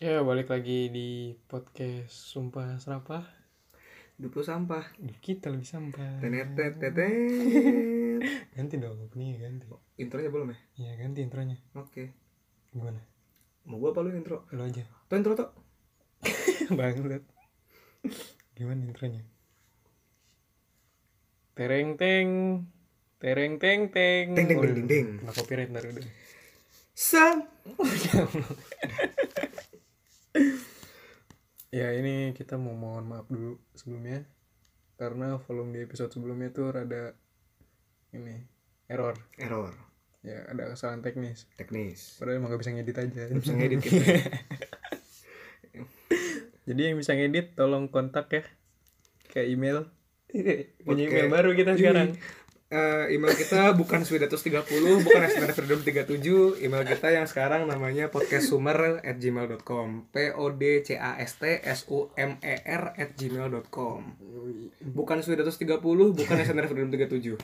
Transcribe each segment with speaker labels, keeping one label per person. Speaker 1: Ya, balik lagi di podcast Sumpah Serapah.
Speaker 2: Dupu sampah.
Speaker 1: Kita lebih sampah.
Speaker 2: Tenet tete.
Speaker 1: Ganti dong, openingnya ganti.
Speaker 2: Intronya belum ya?
Speaker 1: Iya, ganti intronya.
Speaker 2: Oke.
Speaker 1: Gimana?
Speaker 2: Mau gua apa lu yang intro?
Speaker 1: Lu aja.
Speaker 2: Tuh intro tuh.
Speaker 1: Banget. Gimana intronya? Tereng teng. Tereng teng teng.
Speaker 2: Teng, teng, ding, ding, ding.
Speaker 1: Nah, copyright ntar udah.
Speaker 2: Sam.
Speaker 1: Ya, ini kita mau mohon maaf dulu sebelumnya. Karena volume di episode sebelumnya tuh rada ini error.
Speaker 2: Error.
Speaker 1: Ya, ada kesalahan teknis.
Speaker 2: Teknis.
Speaker 1: Padahal emang gak bisa ngedit gitu ya. aja.
Speaker 2: Bisa ngedit kita.
Speaker 1: Jadi yang bisa ngedit tolong kontak ya ke email. Iya, Punya
Speaker 2: Oke.
Speaker 1: email baru kita sekarang.
Speaker 2: Eh, email kita bukan Swedatus 30, bukan Esmer Freedom 37. Email kita yang sekarang namanya podcastsumer@gmail.com. P O D C A S T S U M E R at gmail.com. Bukan Swedatus 30, bukan Esmer Freedom 37.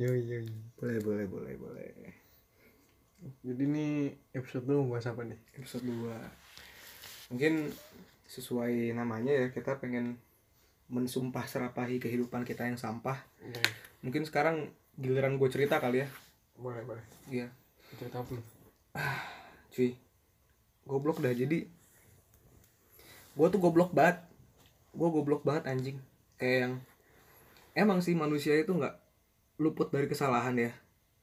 Speaker 1: Yoi yoi.
Speaker 2: Boleh, boleh, boleh, boleh.
Speaker 1: Jadi ini episode lu bahas apa nih?
Speaker 2: episode 2 mungkin sesuai namanya ya kita pengen mensumpah serapahi kehidupan kita yang sampah
Speaker 1: Iya.
Speaker 2: mungkin sekarang giliran gue cerita kali ya
Speaker 1: Boleh boleh.
Speaker 2: iya
Speaker 1: Cerita apa?
Speaker 2: cuy goblok dah jadi gue tuh goblok banget gue goblok banget anjing kayak yang emang sih manusia itu nggak luput dari kesalahan ya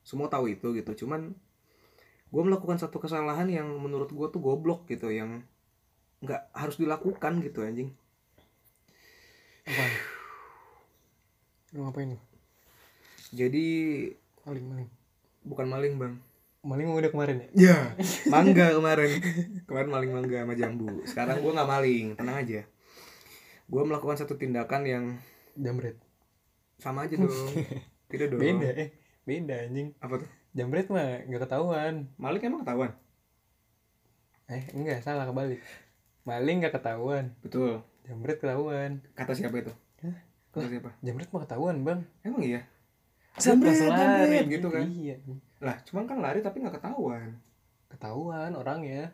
Speaker 2: semua tahu itu gitu cuman gue melakukan satu kesalahan yang menurut gue tuh goblok gitu yang nggak harus dilakukan gitu anjing
Speaker 1: Apa? Lu ngapain? lu?
Speaker 2: jadi
Speaker 1: Maling maling.
Speaker 2: bukan maling bang
Speaker 1: Maling mah udah kemarin ya?
Speaker 2: ya mangga kemarin kemarin maling mangga sama jambu sekarang gue nggak maling tenang aja gue melakukan satu tindakan yang
Speaker 1: Jambret.
Speaker 2: sama aja dong tidak dong
Speaker 1: Beda eh. Beda anjing.
Speaker 2: apa tuh
Speaker 1: Jambret mah gak ketahuan.
Speaker 2: maling emang ketahuan
Speaker 1: Eh enggak salah kebalik. Maling gak ketahuan.
Speaker 2: betul
Speaker 1: Jambret ketahuan.
Speaker 2: kata siapa itu
Speaker 1: Hah?
Speaker 2: kata siapa
Speaker 1: Jambret mah ketahuan bang.
Speaker 2: emang iya
Speaker 1: Jambret,
Speaker 2: Jambret, jambret, gitu kan
Speaker 1: Iya.
Speaker 2: lah cuman kan lari tapi nggak ketahuan
Speaker 1: ketahuan orangnya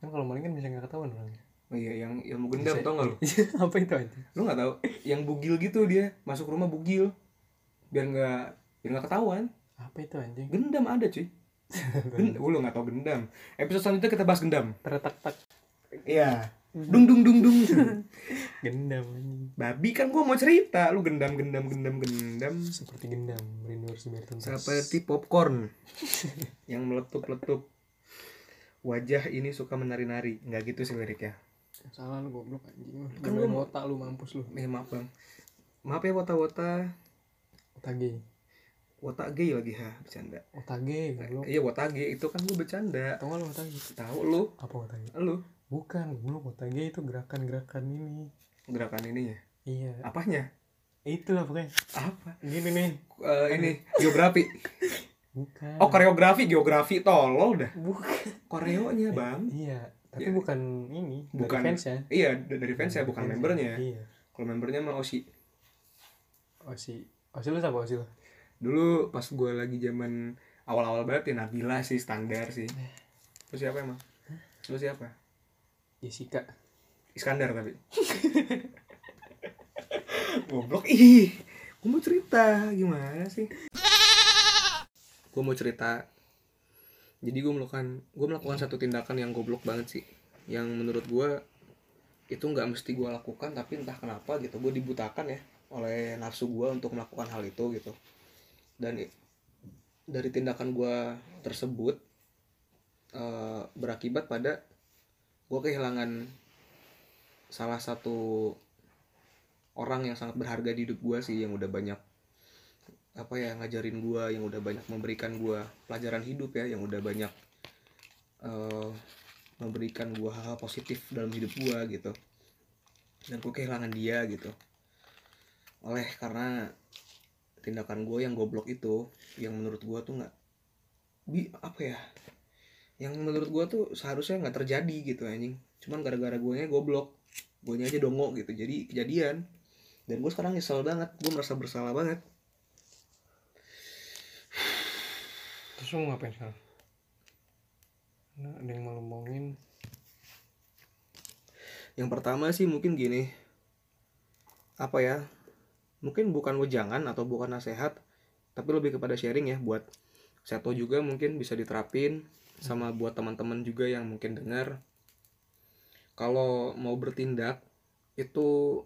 Speaker 1: kan kalau maling kan bisa nggak ketahuan orangnya
Speaker 2: oh iya yang ilmu gendam
Speaker 1: Bisa.
Speaker 2: tau gak lu
Speaker 1: apa itu aja
Speaker 2: lu nggak tahu yang bugil gitu dia masuk rumah bugil biar nggak biar nggak ketahuan
Speaker 1: apa itu anjing
Speaker 2: gendam ada cuy Gendam,
Speaker 1: Hmm.
Speaker 2: lu nggak tau gendam episode selanjutnya kita bahas gendam
Speaker 1: tertak tak
Speaker 2: iya dung dung dung dung
Speaker 1: gendam anjing
Speaker 2: babi kan gua mau cerita lu gendam gendam gendam gendam
Speaker 1: seperti gendam rindu harus biar tuntas
Speaker 2: seperti popcorn yang meletup-letup wajah ini suka menari-nari nggak gitu sih liriknya
Speaker 1: salah lu goblok anjing lu kan
Speaker 2: Kan
Speaker 1: lu
Speaker 2: lu-
Speaker 1: otak lu mampus lu
Speaker 2: eh maaf bang maaf ya wota-wota
Speaker 1: otage
Speaker 2: wota gay lagi ha bercanda
Speaker 1: otage goblok
Speaker 2: iya wota gay itu kan gue bercanda
Speaker 1: tau gak lu otage
Speaker 2: tahu lu
Speaker 1: apa otage
Speaker 2: lu
Speaker 1: bukan goblok otage itu gerakan-gerakan ini
Speaker 2: gerakan ininya
Speaker 1: iya
Speaker 2: apanya
Speaker 1: itulah pokoknya
Speaker 2: apa
Speaker 1: gini nih
Speaker 2: Eh, ini geografi
Speaker 1: bukan
Speaker 2: oh koreografi geografi tolol dah
Speaker 1: bukan
Speaker 2: koreonya bang
Speaker 1: iya tapi
Speaker 2: Iya.
Speaker 1: bukan ini
Speaker 2: Bukan.
Speaker 1: fans ya
Speaker 2: iya d- dari fans ya bukan membernya
Speaker 1: iya
Speaker 2: kalau membernya mah osi
Speaker 1: osi osi lu siapa osi lu
Speaker 2: dulu pas gue lagi zaman awal-awal banget ya Nabila sih standar sih lu siapa emang lu siapa
Speaker 1: Jessica
Speaker 2: Iskandar tapi goblok ih gue mau cerita gimana sih gue mau cerita jadi gue melakukan gue melakukan satu tindakan yang goblok banget sih yang menurut gue itu nggak mesti gue lakukan tapi entah kenapa gitu gue dibutakan ya oleh nafsu gue untuk melakukan hal itu gitu dan i- dari tindakan gue tersebut eh, berakibat pada gue kehilangan salah satu orang yang sangat berharga di hidup gue sih yang udah banyak apa ya ngajarin gue yang udah banyak memberikan gue pelajaran hidup ya yang udah banyak eh, memberikan gue hal-hal positif dalam hidup gue gitu dan gue kehilangan dia gitu oleh karena tindakan gue yang goblok itu yang menurut gue tuh nggak bi apa ya yang menurut gue tuh seharusnya nggak terjadi gitu anjing cuman gara-gara gue nya goblok gue aja dongo gitu jadi kejadian dan gue sekarang nyesel banget gue merasa bersalah banget
Speaker 1: Terus lu mau ngapain sekarang? Nah, ada yang mau lu omongin
Speaker 2: yang pertama sih mungkin gini apa ya mungkin bukan wejangan atau bukan nasihat tapi lebih kepada sharing ya buat Seto juga mungkin bisa diterapin sama buat teman-teman juga yang mungkin dengar kalau mau bertindak itu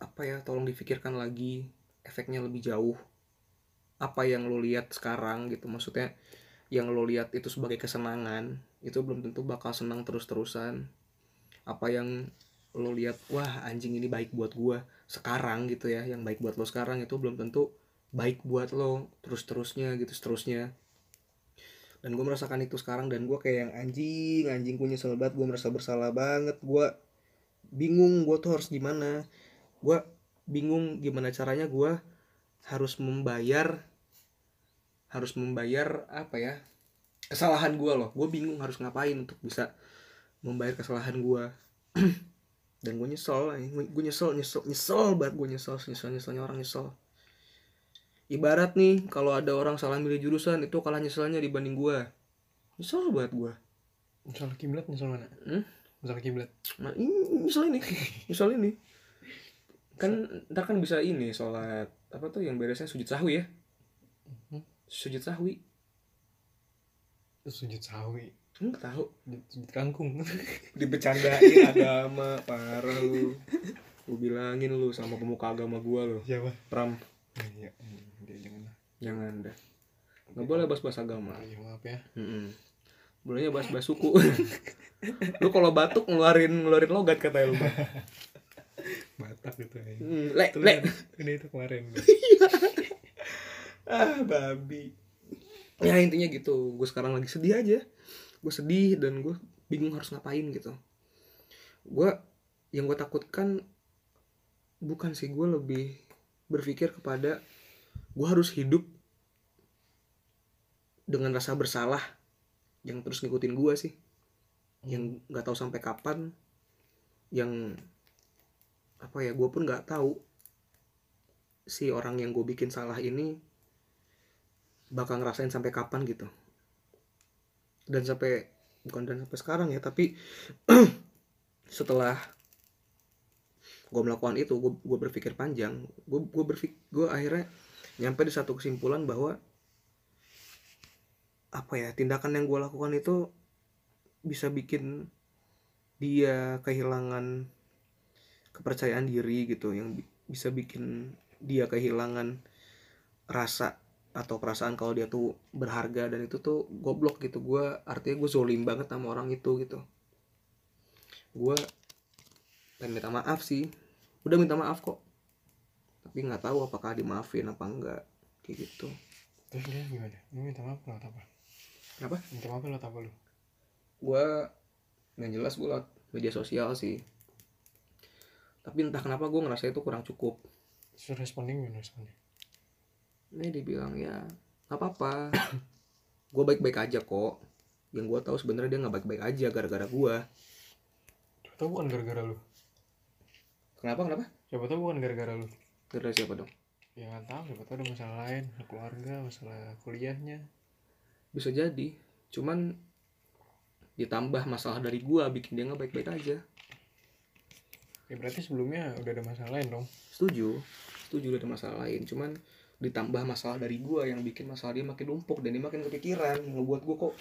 Speaker 2: apa ya tolong difikirkan lagi efeknya lebih jauh apa yang lo lihat sekarang gitu maksudnya yang lo lihat itu sebagai kesenangan itu belum tentu bakal senang terus-terusan apa yang lo lihat wah anjing ini baik buat gua sekarang gitu ya yang baik buat lo sekarang itu belum tentu baik buat lo terus-terusnya gitu seterusnya dan gue merasakan itu sekarang dan gue kayak yang anjing anjing gue nyesel banget gue merasa bersalah banget gue bingung gue tuh harus gimana gue bingung gimana caranya gue harus membayar harus membayar apa ya kesalahan gue loh gue bingung harus ngapain untuk bisa membayar kesalahan gue dan gue nyesel gue nyesel nyesel nyesel banget gue nyesel nyesel nyeselnya orang nyesel ibarat nih kalau ada orang salah milih jurusan itu kalah nyeselnya dibanding gue nyesel banget gue
Speaker 1: misal kiblat misal mana
Speaker 2: Hmm?
Speaker 1: misal kiblat
Speaker 2: nah ini nyesel ini nyesel ini kan ntar kan bisa ini sholat apa tuh yang beresnya sujud sahwi ya
Speaker 1: Mhm.
Speaker 2: sujud sahwi
Speaker 1: sujud sawi
Speaker 2: nggak tahu
Speaker 1: sujud kangkung
Speaker 2: dibecandain agama parah lu lu bilangin lu sama pemuka agama gua lu
Speaker 1: siapa
Speaker 2: pram
Speaker 1: Oh, iya Hmm, dia jangan lah
Speaker 2: jangan dah nggak boleh bahas-bahas agama
Speaker 1: Oh, iya, maaf ya
Speaker 2: Mm-mm. bolehnya bahas-bahas suku lu kalau batuk ngeluarin ngeluarin logat katanya lu Bang.
Speaker 1: batak gitu ya
Speaker 2: Mm, le
Speaker 1: itu
Speaker 2: le
Speaker 1: udah itu kemarin
Speaker 2: ah babi ya intinya gitu gue sekarang lagi sedih aja gue sedih dan gue bingung harus ngapain gitu gue yang gue takutkan bukan sih gue lebih berpikir kepada gue harus hidup dengan rasa bersalah yang terus ngikutin gue sih yang nggak tahu sampai kapan yang apa ya gue pun nggak tahu si orang yang gue bikin salah ini bakal ngerasain sampai kapan gitu dan sampai bukan dan sampai sekarang ya tapi setelah gue melakukan itu gue berpikir panjang gue gue berpikir gue akhirnya nyampe di satu kesimpulan bahwa apa ya tindakan yang gue lakukan itu bisa bikin dia kehilangan kepercayaan diri gitu yang bi- bisa bikin dia kehilangan rasa atau perasaan kalau dia tuh berharga dan itu tuh goblok gitu gue artinya gue zolim banget sama orang itu gitu gue pengen minta maaf sih udah minta maaf kok tapi nggak tahu apakah dimaafin apa enggak kayak gitu
Speaker 1: terus dia gimana lu minta maaf lo apa
Speaker 2: apa
Speaker 1: minta maaf lo apa lu
Speaker 2: gue yang jelas gue lewat media sosial sih tapi entah kenapa gue ngerasa itu kurang cukup
Speaker 1: terus responing gimana responnya
Speaker 2: ini dibilang ya nggak apa-apa gue baik-baik aja kok yang gue tahu sebenarnya dia nggak baik-baik aja gara-gara gue
Speaker 1: siapa tahu bukan gara-gara lu
Speaker 2: kenapa kenapa
Speaker 1: siapa tahu bukan gara-gara lu
Speaker 2: gara-gara siapa dong
Speaker 1: ya nggak tahu siapa tahu ada masalah lain masalah keluarga masalah kuliahnya
Speaker 2: bisa jadi cuman ditambah masalah dari gue bikin dia nggak baik-baik aja
Speaker 1: ya berarti sebelumnya udah ada masalah lain dong
Speaker 2: setuju setuju ada masalah lain cuman ditambah masalah dari gue yang bikin masalah dia makin numpuk dan dia makin kepikiran yang buat gue kok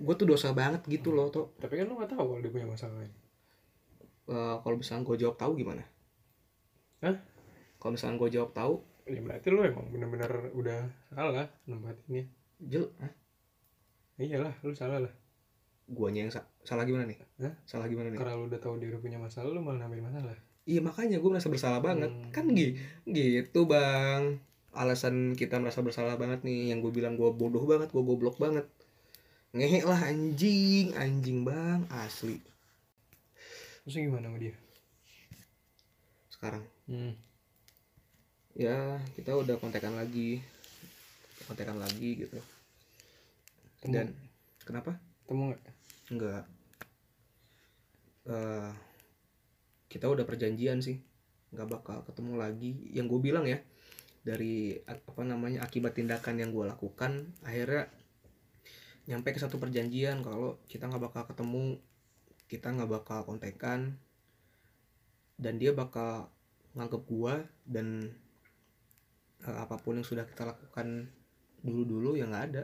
Speaker 2: gue tuh dosa banget gitu loh tuh
Speaker 1: tapi kan lu nggak tahu kalau dia punya masalah lain
Speaker 2: Eh, kalau misalnya gue jawab tahu gimana
Speaker 1: Hah?
Speaker 2: kalau misalnya gue jawab tahu
Speaker 1: ya berarti lu emang bener-bener udah salah nempatinnya
Speaker 2: jel
Speaker 1: ya iyalah lu salah lah
Speaker 2: guanya yang sa- salah gimana nih?
Speaker 1: Hah?
Speaker 2: Salah gimana nih?
Speaker 1: karena lu udah tahu dia udah punya masalah lu malah nambahin masalah
Speaker 2: Iya makanya gue merasa bersalah banget
Speaker 1: Hmm.
Speaker 2: kan gi- gitu bang alasan kita merasa bersalah banget nih yang gue bilang gue bodoh banget gue goblok banget ngehe lah anjing anjing bang asli
Speaker 1: terus gimana sama dia
Speaker 2: sekarang
Speaker 1: hmm.
Speaker 2: ya kita udah kontekan lagi kontekan lagi gitu
Speaker 1: Temu.
Speaker 2: dan kenapa
Speaker 1: temu nggak
Speaker 2: enggak eh kita udah perjanjian sih nggak bakal ketemu lagi yang gue bilang ya dari a- apa namanya akibat tindakan yang gue lakukan akhirnya nyampe ke satu perjanjian kalau kita nggak bakal ketemu kita nggak bakal kontekan dan dia bakal nganggep gua dan eh, apapun yang sudah kita lakukan dulu-dulu ya nggak ada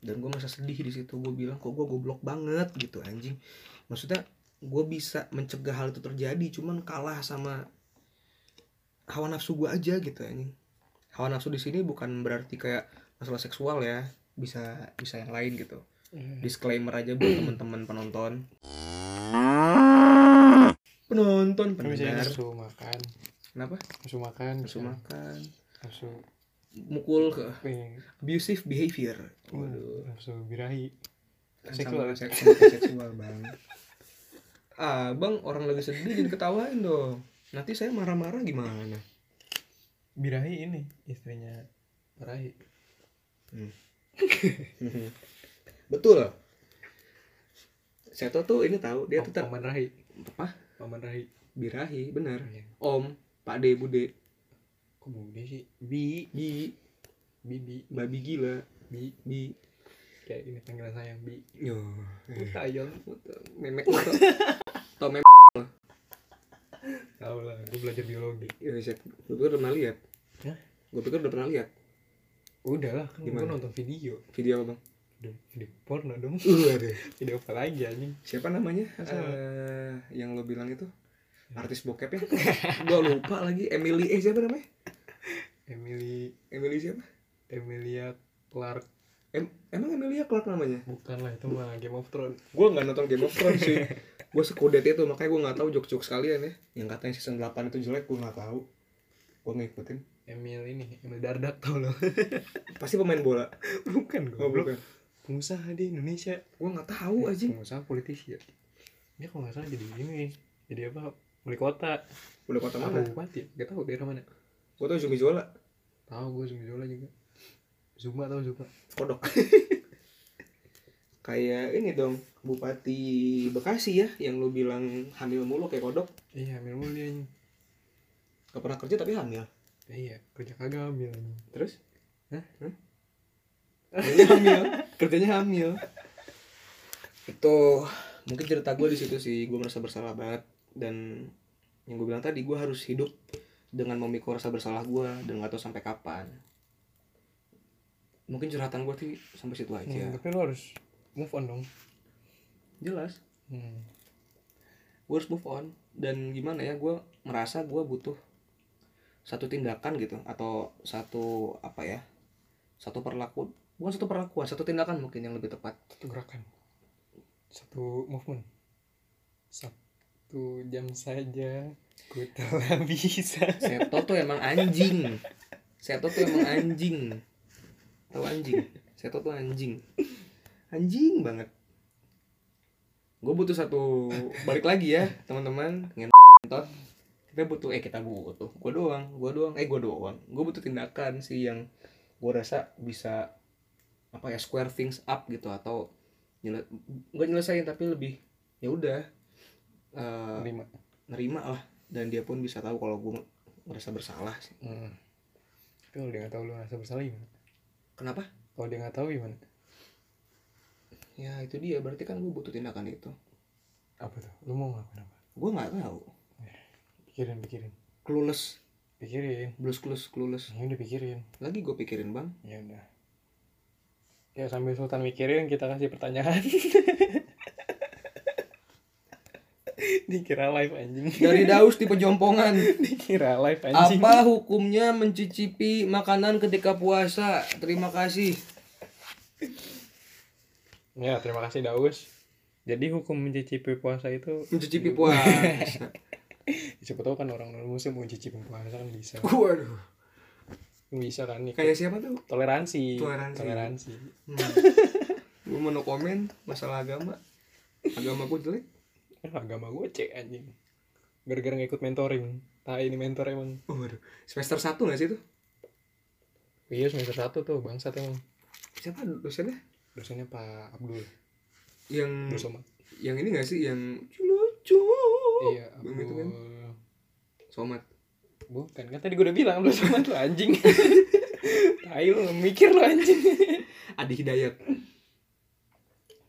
Speaker 2: dan gue merasa sedih di situ gue bilang kok gue goblok banget gitu anjing maksudnya gue bisa mencegah hal itu terjadi cuman kalah sama hawa nafsu gue aja gitu anjing hawa nafsu di sini bukan berarti kayak masalah seksual ya bisa bisa yang lain gitu disclaimer aja buat teman-teman penonton penonton
Speaker 1: bisa
Speaker 2: pendengar
Speaker 1: nafsu makan
Speaker 2: kenapa
Speaker 1: nafsu makan
Speaker 2: nafsu
Speaker 1: bisa.
Speaker 2: makan
Speaker 1: nafsu
Speaker 2: mukul ke
Speaker 1: eh,
Speaker 2: abusive behavior waduh
Speaker 1: nafsu birahi
Speaker 2: seksual
Speaker 1: Seksual.
Speaker 2: seksual seksual bang ah bang orang lagi sedih jadi ketawain dong nanti saya marah-marah gimana
Speaker 1: birahi ini istrinya birahi
Speaker 2: betul Seto tuh ini tahu dia
Speaker 1: dia
Speaker 2: tuh ter-
Speaker 1: paman rahi
Speaker 2: apa
Speaker 1: paman rahi
Speaker 2: birahi bener
Speaker 1: Iya.
Speaker 2: om pak de bude
Speaker 1: kok bude sih
Speaker 2: bi bi
Speaker 1: bibi
Speaker 2: babi gila bi bi
Speaker 1: kayak ini panggilan sayang bi
Speaker 2: yo eh.
Speaker 1: sayang
Speaker 2: memek atau tau memek
Speaker 1: tau lah gue belajar biologi
Speaker 2: ya set gue pikir udah pernah lihat
Speaker 1: Hah?
Speaker 2: gue pikir udah pernah lihat
Speaker 1: udah lah kan gue
Speaker 2: Gimana?
Speaker 1: nonton video
Speaker 2: video apa bang
Speaker 1: udah video porno dong
Speaker 2: Waduh.
Speaker 1: video apa lagi anjing
Speaker 2: siapa namanya
Speaker 1: Siapa?
Speaker 2: Eh, yang lo bilang itu artis bokep ya gua lupa lagi Emily eh siapa namanya
Speaker 1: Emily
Speaker 2: Emily siapa
Speaker 1: Emilia Clark
Speaker 2: Em- emang Emilia Clark namanya
Speaker 1: bukan lah itu mah Game of Thrones
Speaker 2: gua nggak nonton Game of Thrones sih gua sekodet itu makanya gua nggak tahu jok-jok sekalian ya yang katanya season 8 itu jelek gua nggak tahu gua ngikutin
Speaker 1: Emil ini Emil Dardak tau lo
Speaker 2: pasti pemain bola
Speaker 1: bukan
Speaker 2: oh,
Speaker 1: goblok
Speaker 2: bukan
Speaker 1: pengusaha di Indonesia Eh,
Speaker 2: gua nggak tahu aja
Speaker 1: pengusaha politisi ya dia kalau nggak salah jadi ini jadi apa wali kota
Speaker 2: udah kota
Speaker 1: apa
Speaker 2: mana
Speaker 1: bupati gak tau daerah mana
Speaker 2: gua tau Zumi Zola
Speaker 1: tahu gue Zumi Zola juga Zuma tau Zuma
Speaker 2: kodok kayak ini dong Bupati Bekasi ya yang lu bilang hamil mulu kayak kodok
Speaker 1: iya hamil mulu dia anjing.
Speaker 2: Gak pernah kerja tapi hamil.
Speaker 1: iya kerja kagak hamil anjing.
Speaker 2: Terus?
Speaker 1: Hah?
Speaker 2: Hah? Kerjanya hamil. Kerjanya hamil. Itu mungkin cerita gue di situ sih gue merasa bersalah banget dan yang gue bilang tadi gue harus hidup dengan memikul rasa bersalah gue dan gak tahu sampai kapan. Mungkin curhatan gue sih sampai situ
Speaker 1: Hmm,
Speaker 2: aja.
Speaker 1: tapi lu harus move on dong
Speaker 2: Jelas.
Speaker 1: hmm.
Speaker 2: Gue harus move on dan gimana ya gue merasa gue butuh satu tindakan gitu atau satu apa ya satu perlakuan bukan satu perlakuan satu tindakan mungkin yang lebih tepat
Speaker 1: satu gerakan satu movement satu jam saja ku telah bisa
Speaker 2: Seto tuh emang anjing. Seto tuh emang anjing. Tahu anjing? Seto tuh anjing. Anjing banget. Gue butuh satu balik lagi ya, teman-teman. Ngentot. Kita butuh eh kita butuh. Gue doang, gue doang. Eh gue doang. Gue butuh tindakan sih yang gue rasa bisa apa ya square things up gitu atau nyele, gak nyelesain tapi lebih ya udah eh,
Speaker 1: lima
Speaker 2: nerima lah dan dia pun bisa tahu kalau gue merasa bersalah sih
Speaker 1: hmm. tapi kalau dia nggak tahu lu ngerasa bersalah gimana
Speaker 2: kenapa
Speaker 1: kalau dia nggak tahu gimana
Speaker 2: ya itu dia berarti kan gue butuh tindakan itu
Speaker 1: apa tuh lu mau ngapain apa
Speaker 2: gue nggak tahu
Speaker 1: pikirin pikirin
Speaker 2: clueless
Speaker 1: pikirin
Speaker 2: blues clueless clueless
Speaker 1: ya udah pikirin
Speaker 2: lagi gue pikirin bang
Speaker 1: ya udah ya sambil Sultan mikirin kita kasih pertanyaan dikira live anjing
Speaker 2: dari daus di pejompongan
Speaker 1: dikira live anjing
Speaker 2: apa hukumnya mencicipi makanan ketika puasa terima kasih
Speaker 1: Ya, terima kasih Daus. Jadi hukum mencicipi puasa itu
Speaker 2: mencicipi puasa
Speaker 1: siapa tahu kan orang non muslim mau mencicipi puasa kan bisa.
Speaker 2: waduh
Speaker 1: Bisa kan nih.
Speaker 2: kayak siapa tuh
Speaker 1: toleransi.
Speaker 2: Toleransi.
Speaker 1: Toleransi.
Speaker 2: gue mau no komen masalah agama agama gue jelek
Speaker 1: Eh, agama gue cek anjing. Gara-gara nggak ikut mentoring. Nah, ini mentor emang.
Speaker 2: waduh semester satu nggak sih itu
Speaker 1: Iya, semester satu tuh bangsat emang.
Speaker 2: siapa dosennya
Speaker 1: Dosennya Pak Abdul.
Speaker 2: yang
Speaker 1: Abdul Somad.
Speaker 2: yang ini gak sih yang lucu
Speaker 1: Iya,
Speaker 2: Bang, gitu
Speaker 1: Abdul.
Speaker 2: kan? somat
Speaker 1: Bukan, kan tadi gue udah bilang Abdul Somad tuh anjing. Tai lu mikir lu anjing.
Speaker 2: Adi Hidayat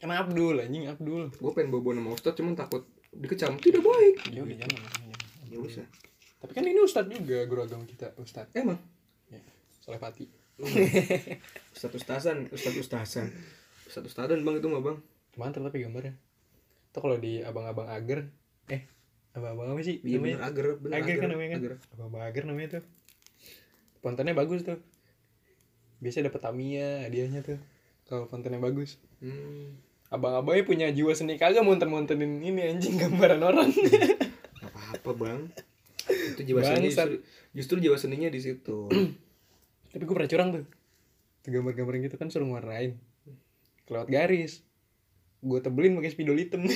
Speaker 1: Kan Abdul anjing Abdul.
Speaker 2: gue pengen bobo sama ustad cuman takut dikecam tidak baik
Speaker 1: Ya udah jangan, jangan.
Speaker 2: ya usah
Speaker 1: Tapi kan ini Ustadz juga guru agama kita Ustadz.
Speaker 2: emang
Speaker 1: Ya. Soleh Pati.
Speaker 2: ustad ustazan ustad ustazan ustad ustazan bang itu mah bang
Speaker 1: Mantap tapi gambarnya. Itu kalau di abang-abang ager eh abang-abang apa sih?
Speaker 2: iya
Speaker 1: namanya?
Speaker 2: bener agar bener
Speaker 1: Agar kan namanya kan?
Speaker 2: agar.
Speaker 1: Abang-abang ager namanya tuh. Fontennya bagus tuh. Biasanya dapat Tamiya hadiahnya tuh. Kalau fontennya bagus.
Speaker 2: hmm.
Speaker 1: Abang-abangnya punya jiwa seni kagak monten-montenin ini anjing gambaran orang.
Speaker 2: apa apa bang itu jiwa
Speaker 1: Bangsat.
Speaker 2: seni justru, justru jiwa seninya di situ
Speaker 1: Tapi gue pernah curang tuh. Tuh gambar-gambar gitu kan suruh ngewarnain. Kelewat garis. Gue tebelin pakai spidol hitam.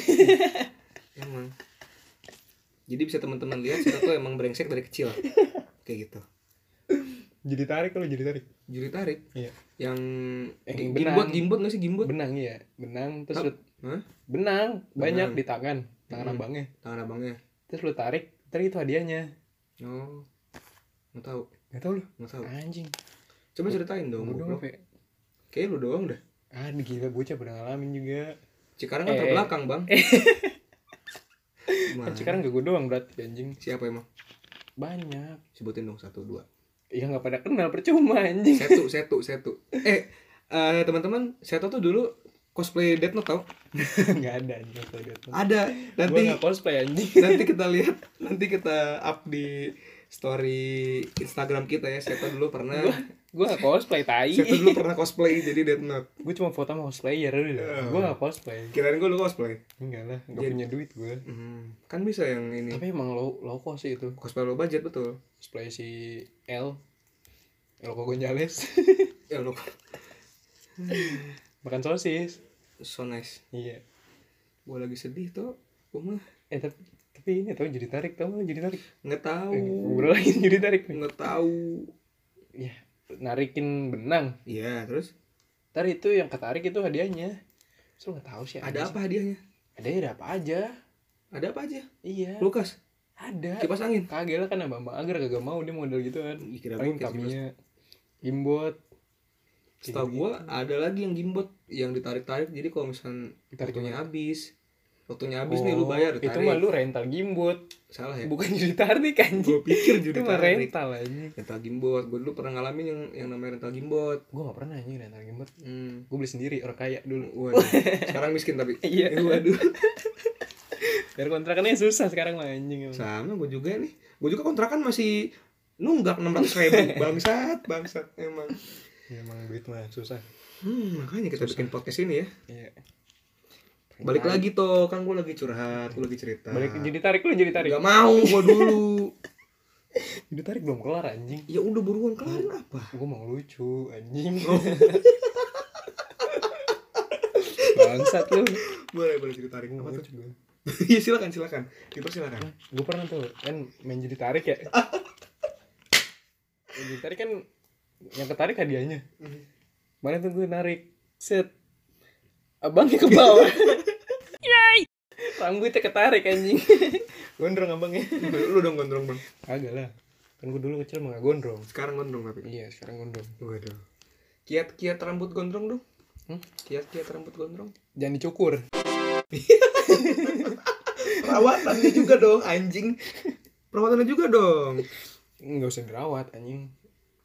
Speaker 2: emang jadi bisa teman-teman lihat kita tuh emang brengsek dari kecil kayak gitu
Speaker 1: jadi tarik kalau jadi tarik.
Speaker 2: juri tarik
Speaker 1: Iya.
Speaker 2: yang
Speaker 1: Eh,
Speaker 2: gi-
Speaker 1: benang.
Speaker 2: gimbot gimbot nggak sih gimbot
Speaker 1: Benang iya, benang terus
Speaker 2: Tau-
Speaker 1: lu-
Speaker 2: Hah?
Speaker 1: benang banyak
Speaker 2: Benang.
Speaker 1: di tangan, tangan
Speaker 2: Hmm.
Speaker 1: abangnya.
Speaker 2: tangan abangnya
Speaker 1: Terus lu tarik, tarik itu hadiahnya.
Speaker 2: oh nggak tahu
Speaker 1: Gak tau lu.
Speaker 2: nggak tahu
Speaker 1: Anjing.
Speaker 2: coba ceritain dong
Speaker 1: Bodoh
Speaker 2: goblok.
Speaker 1: apa ya?
Speaker 2: kayak lu doang dah
Speaker 1: Ah, gila bocah udah ngalamin juga.
Speaker 2: Cikarang kan
Speaker 1: Eh.
Speaker 2: terbelakang bang Gimana?
Speaker 1: Kan sekarang gak gue doang berarti anjing.
Speaker 2: siapa emang
Speaker 1: Banyak.
Speaker 2: sebutin dong satu dua
Speaker 1: Ya gak pada kenal percuma anjing.
Speaker 2: setu setu setu eh eh, teman-teman setu tuh dulu cosplay Death Note tau
Speaker 1: gak ada anjing.
Speaker 2: ada
Speaker 1: Gue
Speaker 2: nanti
Speaker 1: gak cosplay anjing.
Speaker 2: nanti kita lihat nanti kita up di story Instagram kita ya Seto dulu pernah
Speaker 1: Gue gak cosplay tai.
Speaker 2: Seto dulu pernah cosplay jadi Death Note
Speaker 1: gue cuma foto sama cosplayer
Speaker 2: Iya.
Speaker 1: udah gue gak cosplay
Speaker 2: kirain gue lu cosplay
Speaker 1: enggak lah
Speaker 2: Iya.
Speaker 1: gak punya duit gue
Speaker 2: Hmm,
Speaker 1: Mm-hmm.
Speaker 2: kan bisa yang ini
Speaker 1: tapi emang low low cost sih itu
Speaker 2: cosplay low budget betul
Speaker 1: cosplay si L Elko Gonzales
Speaker 2: ya lu
Speaker 1: makan sosis
Speaker 2: so nice
Speaker 1: iya
Speaker 2: gue lagi sedih tuh gue mah
Speaker 1: eh tapi tapi ini tau jadi tarik tau nggak jadi tarik
Speaker 2: nggak tahu
Speaker 1: ngobrol lagi jadi tarik
Speaker 2: nggak tahu
Speaker 1: ya narikin benang
Speaker 2: Iya, terus
Speaker 1: ntar itu yang ketarik itu hadiahnya so nggak tahu sih
Speaker 2: ada apa hadiahnya?
Speaker 1: ada ada apa aja
Speaker 2: Ada apa aja?
Speaker 1: iya
Speaker 2: Kulkas,
Speaker 1: ada
Speaker 2: kipas angin.
Speaker 1: kagak lah kan abang agar kagak mau dia model gitu kan
Speaker 2: Ih, Kira
Speaker 1: paling
Speaker 2: gua kipas-
Speaker 1: taminya gimbot
Speaker 2: Setahu gua ada lagi yang gimbot yang ditarik-tarik jadi kalau misalkan
Speaker 1: Ditarik
Speaker 2: waktunya habis. Waktunya habis nih lu bayar
Speaker 1: Oh, itu
Speaker 2: ditarik.
Speaker 1: mah lu rental gimbot
Speaker 2: Salah ya?
Speaker 1: bukan jadi tarik anjing
Speaker 2: Gua pikir
Speaker 1: itu
Speaker 2: judi
Speaker 1: mah
Speaker 2: tarik.
Speaker 1: rental anjing
Speaker 2: Rental gimbot. Gua dulu pernah ngalamin yang yang namanya rental gimbot.
Speaker 1: gue gak pernah anjing rental gimbot
Speaker 2: Hmm.
Speaker 1: gue beli sendiri orang kaya dulu
Speaker 2: Waduh. Sekarang miskin tapi.
Speaker 1: Iya.
Speaker 2: Eh, Waduh.
Speaker 1: biar kontrakannya susah sekarang mah anjing emang.
Speaker 2: Sama gua juga nih. Gua juga kontrakan masih nunggak 600 ribu bangsat bangsat emang
Speaker 1: Iya, emang duit mah susah
Speaker 2: hmm, makanya kita bikin podcast ini ya
Speaker 1: iya
Speaker 2: balik lagi toh kan gue lagi curhat gue lagi cerita
Speaker 1: balik jadi tarik lu jadi tarik
Speaker 2: Gak mau gua dulu.
Speaker 1: jadi tarik belum kelar anjing
Speaker 2: ya udah buruan kelarin apa?
Speaker 1: gue mau lucu anjing bangsat lu
Speaker 2: Boleh boleh cerita tarik
Speaker 1: Gua
Speaker 2: apa
Speaker 1: mau
Speaker 2: tuh?
Speaker 1: lucu gue
Speaker 2: Iya silakan silakan. Dipersilakan.
Speaker 1: gue pernah tuh kan main jadi tarik ya Main jadi tarik kan yang ketarik hadiahnya kemarin tuh gue narik set abangnya ke bawah rambutnya ketarik anjing gondrong abangnya
Speaker 2: Lu dong gondrong bang.
Speaker 1: agak lah kan gue dulu kecil mah gak gondrong
Speaker 2: Sekarang gondrong tapi.
Speaker 1: iya sekarang gondrong
Speaker 2: Waduh. Kiat-kiat rambut gondrong dong.
Speaker 1: Hmm?
Speaker 2: Kiat-kiat rambut gondrong.
Speaker 1: jangan dicukur
Speaker 2: Perawatannya juga dong anjing. Perawatannya juga dong.
Speaker 1: nggak usah dirawat anjing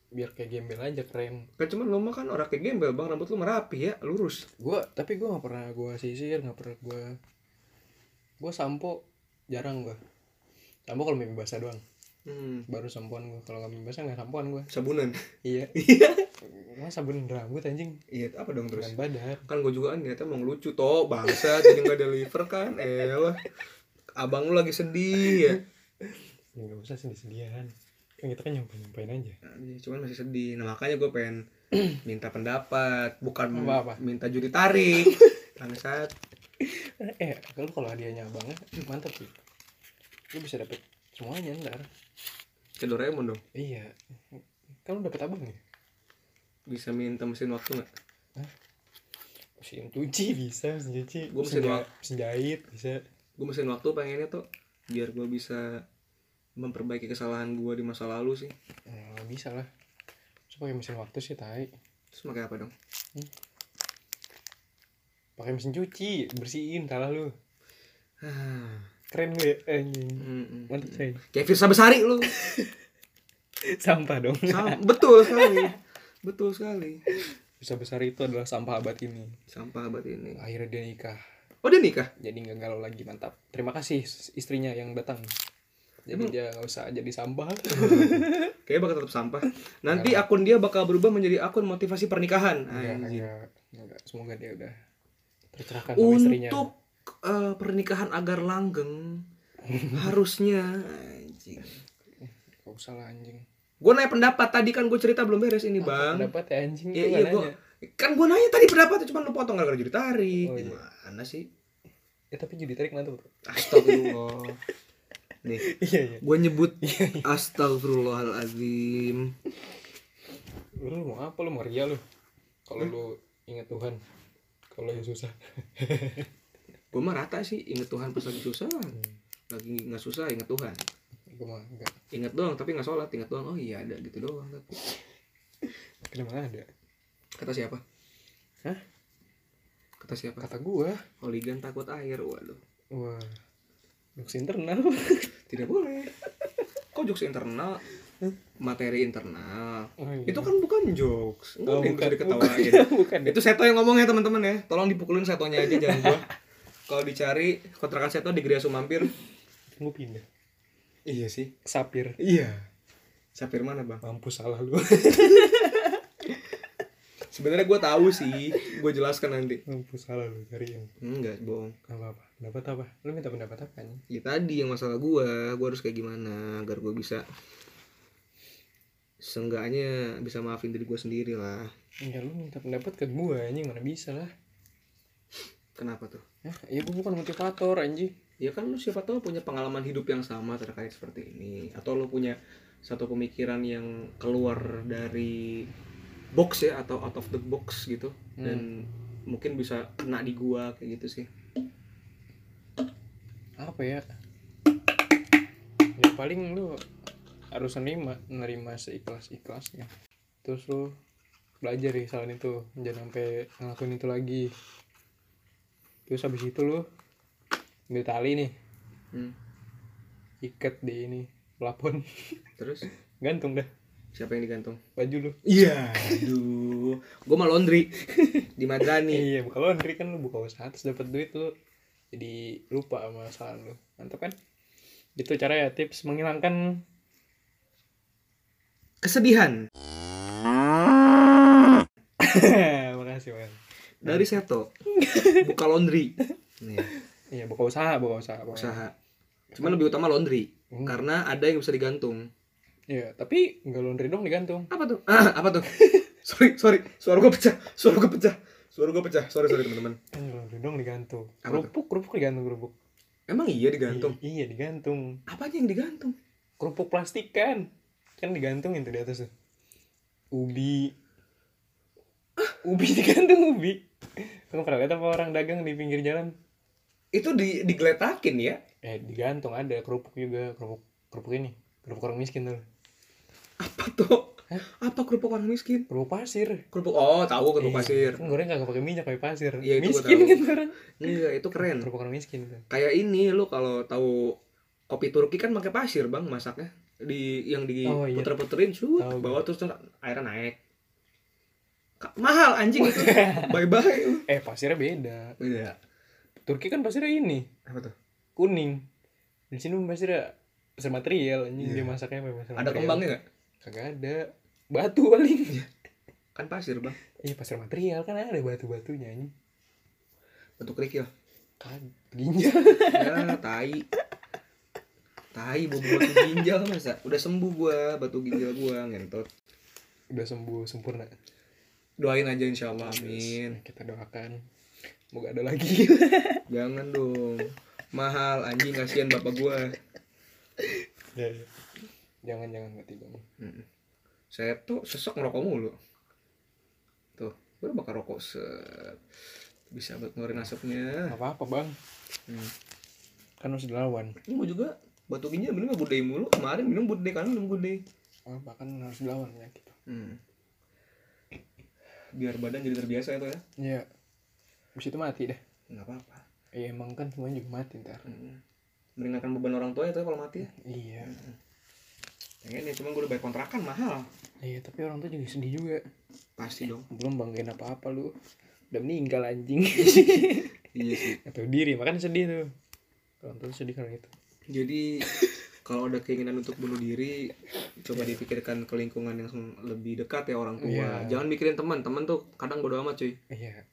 Speaker 1: biar kayak gembel aja keren
Speaker 2: Kan cuman lu mah kan orang kayak gembel bang rambut lu merapi ya lurus.
Speaker 1: gue tapi gue nggak pernah gue sisir nggak pernah gue gue sampo jarang gue sampo kalau mimpi basah doang
Speaker 2: Hmm.
Speaker 1: baru sampoan gue kalau nggak mimpi basah nggak sampoan gue
Speaker 2: Sabunan.
Speaker 1: iya mas sabun rambut anjing
Speaker 2: Iya apa dong terus?
Speaker 1: dengan badan
Speaker 2: kan gue juga kan niatnya mau ngelucu toh bangsa jadi nggak deliver kan eh lah. abang lu lagi sedih ya
Speaker 1: ya nggak usah sedih sedihan kan kita kan nyobain nyobain aja
Speaker 2: Anjir, Iya, cuman masih sedih nah makanya gue pengen minta pendapat bukan
Speaker 1: Apa-apa?
Speaker 2: minta juri tarik bangsat
Speaker 1: eh kalau kalau hadiahnya abangnya mantep sih lu bisa dapet semuanya ntar
Speaker 2: ke Doraemon dong
Speaker 1: iya kan lu dapet abang ya
Speaker 2: bisa minta mesin waktu nggak
Speaker 1: mesin cuci bisa mesin cuci
Speaker 2: Gua mesin
Speaker 1: ja-
Speaker 2: doang.
Speaker 1: mesin jahit bisa
Speaker 2: gue mesin waktu pengennya tuh biar gue bisa memperbaiki kesalahan gue di masa lalu sih
Speaker 1: nah, bisa lah terus pakai mesin waktu sih tai
Speaker 2: terus pakai apa dong
Speaker 1: pakai mesin cuci bersihin salah lu
Speaker 2: Ah,
Speaker 1: keren lu ya anjing
Speaker 2: mm, mm.
Speaker 1: mantap say
Speaker 2: Kayak Firsa Besari lu.
Speaker 1: sampah dong
Speaker 2: Sam- betul sekali. Betul sekali.
Speaker 1: bisa besar itu adalah sampah abad ini
Speaker 2: Sampah abad ini.
Speaker 1: akhirnya dia nikah
Speaker 2: Oh dia nikah?
Speaker 1: jadi nggak galau lagi mantap terima kasih istrinya yang datang jadi
Speaker 2: Emang-
Speaker 1: dia nggak usah jadi sampah
Speaker 2: Kayaknya bakal tetap sampah. Nanti
Speaker 1: Iya.
Speaker 2: akun dia bakal berubah menjadi akun motivasi pernikahan.
Speaker 1: Enggak,
Speaker 2: Anjing.
Speaker 1: enggak, enggak. semoga dia udah tercerahkan sama istrinya
Speaker 2: Untuk eh, pernikahan agar langgeng harusnya anjing.
Speaker 1: gak usah lah anjing
Speaker 2: Gue nanya pendapat tadi kan gue cerita belum beres ini bang.
Speaker 1: dapat ya anjing
Speaker 2: Iya
Speaker 1: lu nggak
Speaker 2: iya gue
Speaker 1: nanya.
Speaker 2: kan gue nanya tadi pendapatnya cuma lu potong gara-gara jadi tarik.
Speaker 1: Oh, iya.
Speaker 2: Gimana sih?
Speaker 1: ya tapi jadi tarik mantap tuh
Speaker 2: Astagfirullah. Nih,
Speaker 1: iya iya
Speaker 2: gue nyebut Astagfirullahalazim.
Speaker 1: lu mau apa lu mau ria lu kalau lu ingat Tuhan kalau yang susah
Speaker 2: Gue mah rata sih, inget Tuhan pas lagi susah. Lagi nggak susah, inget Tuhan.
Speaker 1: gue mah enggak
Speaker 2: Ingat doang, tapi nggak sholat. Ingat doang, oh iya ada gitu doang. Tapi
Speaker 1: kenapa ada
Speaker 2: kata siapa?
Speaker 1: Hah?
Speaker 2: Kata siapa?
Speaker 1: kata gua
Speaker 2: Holigan takut air, waduh.
Speaker 1: wah jokes internal
Speaker 2: Tidak boleh. Kok jokes internal? Materi internal.
Speaker 1: Oh, iya.
Speaker 2: Itu kan bukan jokes. Enggak
Speaker 1: Oh,
Speaker 2: ada yang bisa
Speaker 1: bukan.
Speaker 2: diketawain.
Speaker 1: bukan deh
Speaker 2: Itu Seto yang ngomong ya teman-teman ya. Tolong dipukulin Setonya aja jangan gua. Kalau dicari kontrakan Seto di Gria Sumampir.
Speaker 1: gua pindah
Speaker 2: Iya sih.
Speaker 1: sapir
Speaker 2: Iya. Sapir mana, Bang?
Speaker 1: mampus salah lu
Speaker 2: Sebenarnya gua tahu sih. Gua jelaskan nanti.
Speaker 1: mampus salah lu cari yang
Speaker 2: Enggak, bohong.
Speaker 1: apa apa pendapat apa lu minta pendapat apa nih
Speaker 2: Ya tadi yang masalah gua, gua harus kayak gimana agar gua bisa seenggaknya bisa maafin diri gua sendiri lah.
Speaker 1: ya lu minta pendapat ke gua anjing mana bisa lah
Speaker 2: Kenapa tuh?
Speaker 1: Hah? ya gua bukan motivator anjing
Speaker 2: Ya kan lu siapa tahu punya pengalaman hidup yang sama terkait seperti ini atau lu punya satu pemikiran yang keluar dari box ya atau out of the box gitu dan mungkin bisa kena di gua kayak gitu sih.
Speaker 1: apa ya ya paling lu harus nerima nerima seikhlas ikhlasnya terus lu belajar dari kesalahan itu jangan sampai ngelakuin itu lagi terus habis itu lu ambil tali nih
Speaker 2: Hmm.
Speaker 1: ikat di ini pelapon
Speaker 2: Terus
Speaker 1: gantung dah
Speaker 2: siapa yang digantung?
Speaker 1: baju lu
Speaker 2: Iya, aduh. gua mah laundry di Madrani.
Speaker 1: iya buka laundry kan lu buka usaha terus dapat duit lu jadi lupa sama kesalahan lu mantap kan itu cara ya tips menghilangkan
Speaker 2: Kesedihan
Speaker 1: makasih man
Speaker 2: dari Seto. Buka laundry. Nih,
Speaker 1: iya buka usaha buka usaha buka
Speaker 2: usaha. Cuman lebih utama laundry
Speaker 1: Hmm.
Speaker 2: karena ada yang bisa digantung.
Speaker 1: Iya, tapi nggak laundry dong digantung.
Speaker 2: apa tuh ah, apa tuh sorry sorry suara gue pecah suara gue pecah suara gue pecah sorry sorry teman-teman
Speaker 1: Kan nggak laundry dong digantung.
Speaker 2: Apa
Speaker 1: kerupuk, kerupuk digantung kerupuk.
Speaker 2: emang iya digantung
Speaker 1: I- iya, digantung.
Speaker 2: apa aja yang digantung
Speaker 1: Kerupuk plastik kan. Kan digantungin tuh di atas tuh. Ubi. Ubi digantung ubi. Kamu pernah lihat apa orang dagang di pinggir jalan?
Speaker 2: itu di digeletakin ya
Speaker 1: Eh, digantung ada kerupuk juga, kerupuk kerupuk ini. Kerupuk orang miskin tuh.
Speaker 2: apa tuh apa kerupuk orang miskin
Speaker 1: Kerupuk pasir.
Speaker 2: kerupuk oh tahu kerupuk
Speaker 1: Iya,
Speaker 2: pasir
Speaker 1: Kan goreng nggak pakai minyak, pakai pasir.
Speaker 2: Iya, itu gua
Speaker 1: miskin
Speaker 2: tahu.
Speaker 1: kan orang.
Speaker 2: enggak itu keren
Speaker 1: Kerupuk orang miskin itu.
Speaker 2: kayak ini lu kalau tahu kopi Turki kan pakai pasir bang masaknya di yang
Speaker 1: Oh, iya.
Speaker 2: diputer-puterin shoot
Speaker 1: Tahu
Speaker 2: ke
Speaker 1: gua.
Speaker 2: bawah terus terus airnya naik Ka- mahal anjing itu bye bye
Speaker 1: Eh, pasirnya beda.
Speaker 2: beda
Speaker 1: Turki kan pasirnya ini,
Speaker 2: Iya. apa tuh
Speaker 1: kuning di sini pasirnya pasir material anjing
Speaker 2: Iya.
Speaker 1: dia masaknya apa pasir
Speaker 2: ada
Speaker 1: material.
Speaker 2: kembangnya nggak
Speaker 1: kagak ada batu paling
Speaker 2: kan pasir bang
Speaker 1: iya pasir material kan ada batu batunya ini
Speaker 2: bentuk kerikil
Speaker 1: kan ginjal
Speaker 2: ya tai tai bau batu ginjal masa udah sembuh gua batu ginjal gua ngentot
Speaker 1: udah sembuh sempurna
Speaker 2: doain aja insyaallah amin
Speaker 1: kita doakan semoga ada lagi
Speaker 2: jangan dong mahal anjing kasihan bapak gua
Speaker 1: Ya, ya. jangan jangan mati bang
Speaker 2: Mm. saya tuh sesek ngerokok mulu tuh gua bakal rokok set bisa buat ngeluarin asapnya
Speaker 1: apa apa bang
Speaker 2: Hmm.
Speaker 1: kan harus dilawan
Speaker 2: ini gua juga batu ginjal minum gua budai mulu kemarin minum budai kan minum budai
Speaker 1: apa kan harus dilawan ya kita
Speaker 2: hmm. biar badan jadi terbiasa itu ya
Speaker 1: iya Abis itu mati dah.
Speaker 2: nggak apa-apa
Speaker 1: Ya emang kan semuanya juga mati ntar.
Speaker 2: Mm. meringankan beban orang tua ya tapi kalau mati ya
Speaker 1: Iya.
Speaker 2: pengen ya cuma gue udah bayar kontrakan mahal
Speaker 1: Iya tapi orang tuh juga sedih juga.
Speaker 2: pasti dong
Speaker 1: Belum banggain apa-apa lu. Udah meninggal anjing.
Speaker 2: iya sih
Speaker 1: Atau diri makanya sedih tuh. Orang tuh sedih karena itu.
Speaker 2: jadi kalau ada keinginan untuk bunuh diri coba dipikirkan ke lingkungan yang sem- lebih dekat ya orang tua
Speaker 1: Iya.
Speaker 2: jangan mikirin teman teman tuh kadang bodo amat cuy
Speaker 1: Iya.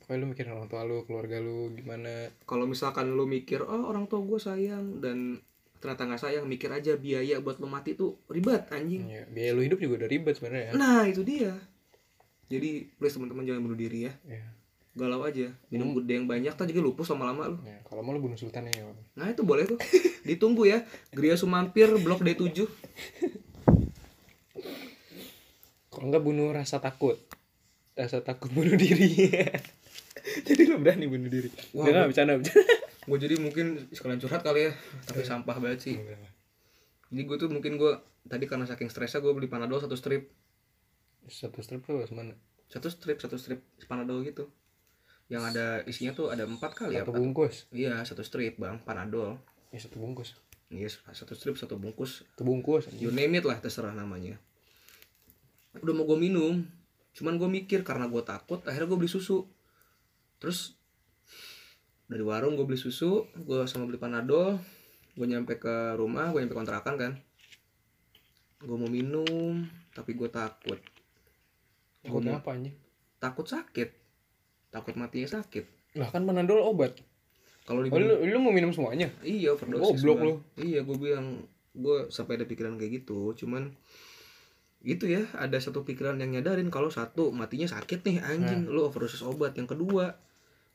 Speaker 1: Pokoknya lu mikirin orang tua lu, keluarga lu gimana.
Speaker 2: kalau misalkan lu mikir oh orang tua gue sayang dan ternyata nggak sayang mikir aja biaya buat lu mati tuh ribet anjing
Speaker 1: Iya. Biaya lu hidup juga udah ribet sebenarnya. ya.
Speaker 2: nah itu dia jadi please teman-teman jangan bunuh diri ya
Speaker 1: Iya.
Speaker 2: galau aja minum gede yang banyak tak juga lupus lama-lama lu
Speaker 1: Ya, kalau mau lu bunuh sultan ya. Bang.
Speaker 2: nah itu boleh tuh ditunggu ya Gria Sumampir blok D7
Speaker 1: Kalau enggak bunuh rasa takut. Rasa takut bunuh diri. Jadi lu berani bunuh diri.
Speaker 2: Wah,
Speaker 1: Enggak, bercanda, bercanda.
Speaker 2: gue jadi mungkin sekalian curhat kali ya tapi sampah banget sih
Speaker 1: Iya.
Speaker 2: jadi gue tuh mungkin gue tadi karena saking stresnya gue beli panadol satu strip
Speaker 1: Satu strip lu harus mana?
Speaker 2: satu strip satu strip panadol gitu yang ada isinya tuh ada empat kali ya
Speaker 1: Satu bungkus.
Speaker 2: Iya, satu strip, Bang. Panadol.
Speaker 1: Ya satu bungkus.
Speaker 2: Yes, satu strip, satu bungkus.
Speaker 1: Satu bungkus.
Speaker 2: You name it lah, terserah namanya. Udah mau gue minum. Cuman gue mikir karena gue takut, akhirnya gue beli susu. Terus dari warung gue beli susu, gue sama beli panadol. Gue nyampe ke rumah, gue nyampe kontrakan kan. Gue mau minum, tapi gue takut.
Speaker 1: Takut
Speaker 2: Gua-
Speaker 1: apa anjing?
Speaker 2: Takut sakit. Takut matinya sakit.
Speaker 1: Lah kan panadol obat.
Speaker 2: Kalau
Speaker 1: Oh,
Speaker 2: diminum
Speaker 1: lu, lu mau minum semuanya?
Speaker 2: Iya overdosis
Speaker 1: Goblok
Speaker 2: Bang.
Speaker 1: lu.
Speaker 2: Iya gue bilang Gue sampai ada pikiran kayak gitu Cuman Gitu ya Ada satu pikiran yang nyadarin Kalau satu matinya sakit nih anjing Lu overdosis obat Yang kedua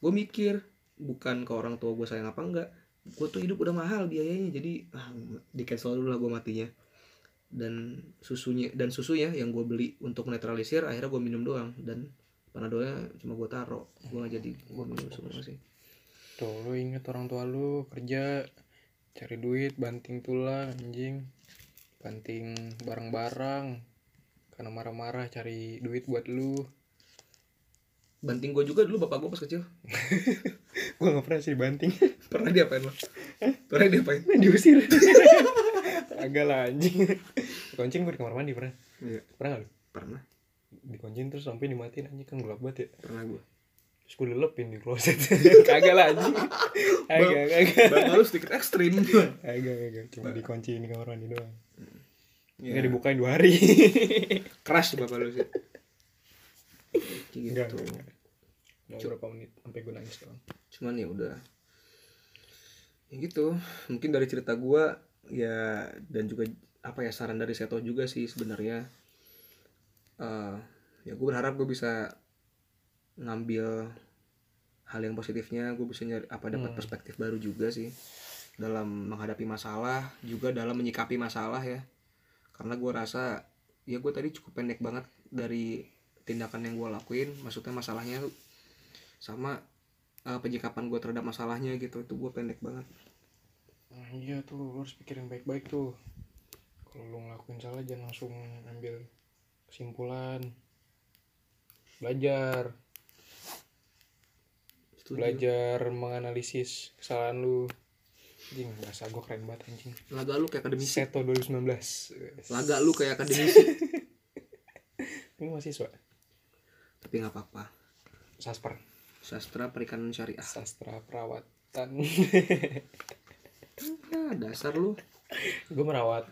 Speaker 2: Gue mikir Bukan ke orang tua gue sayang apa enggak Gue tuh hidup udah mahal biayanya Jadi ah, Di cancel dulu lah gue matinya Dan susunya Dan susunya yang gue beli Untuk netralisir Akhirnya gue minum doang Dan Panadolnya cuma gue taro Gue gak jadi Gue minum semua sih
Speaker 1: Tuh, lu inget orang tua lu kerja cari duit, banting tulang, anjing. Banting barang-barang. Karena marah-marah cari duit buat lu.
Speaker 2: Banting gue juga dulu bapak gue pas kecil
Speaker 1: Gua gak pernah sih dibanting.
Speaker 2: Pernah diapain lo? Pernah diapain?
Speaker 1: Diusir. Agak lah anjing. Dikoncin gua di kamar mandi pernah.
Speaker 2: Iya,
Speaker 1: Pernah gak lu?
Speaker 2: pernah.
Speaker 1: Dikoncin terus sampai dimatiin anjing kan gelap banget ya.
Speaker 2: Pernah gue.
Speaker 1: Terus gua lelepin di kloset. Kagak lah anjing. Agak, agak.
Speaker 2: Bang harus sedikit ekstrim.
Speaker 1: Agak, agak. Cuma dikunciin di kamar mandi doang.
Speaker 2: Iya,
Speaker 1: Nggak dibukain dua hari.
Speaker 2: keras tuh bapak lu sih.
Speaker 1: Enggak.
Speaker 2: Gitu.
Speaker 1: Mau berapa menit sampai gue nangis doang.
Speaker 2: Cuman ya udah. Ya gitu. Mungkin dari cerita gue ya dan juga apa ya saran dari Seto juga sih sebenarnya. Eh, ya gue berharap gue bisa ngambil hal yang positifnya gue bisa nyari apa dapat perspektif baru juga sih dalam menghadapi masalah juga dalam menyikapi masalah ya karena gue rasa ya gue tadi cukup pendek banget dari tindakan yang gue lakuin maksudnya masalahnya tuh sama eh, penyikapan gue terhadap masalahnya gitu itu gue pendek banget
Speaker 1: Nah, iya tuh lu harus pikirin baik-baik tuh. Kalau lu ngelakuin salah jangan langsung ambil kesimpulan. Belajar,
Speaker 2: Setuju.
Speaker 1: belajar menganalisis kesalahan lu. Anjing, bahasa gue keren banget anjing.
Speaker 2: laga lu kayak akademisi
Speaker 1: Seto 2019.
Speaker 2: laga lu kayak akademisi
Speaker 1: Ini mahasiswa.
Speaker 2: tapi nggak apa-apa
Speaker 1: Sasper.
Speaker 2: sastra perikanan syariah
Speaker 1: Sastra perawatan.
Speaker 2: nah, dasar lu
Speaker 1: gue merawat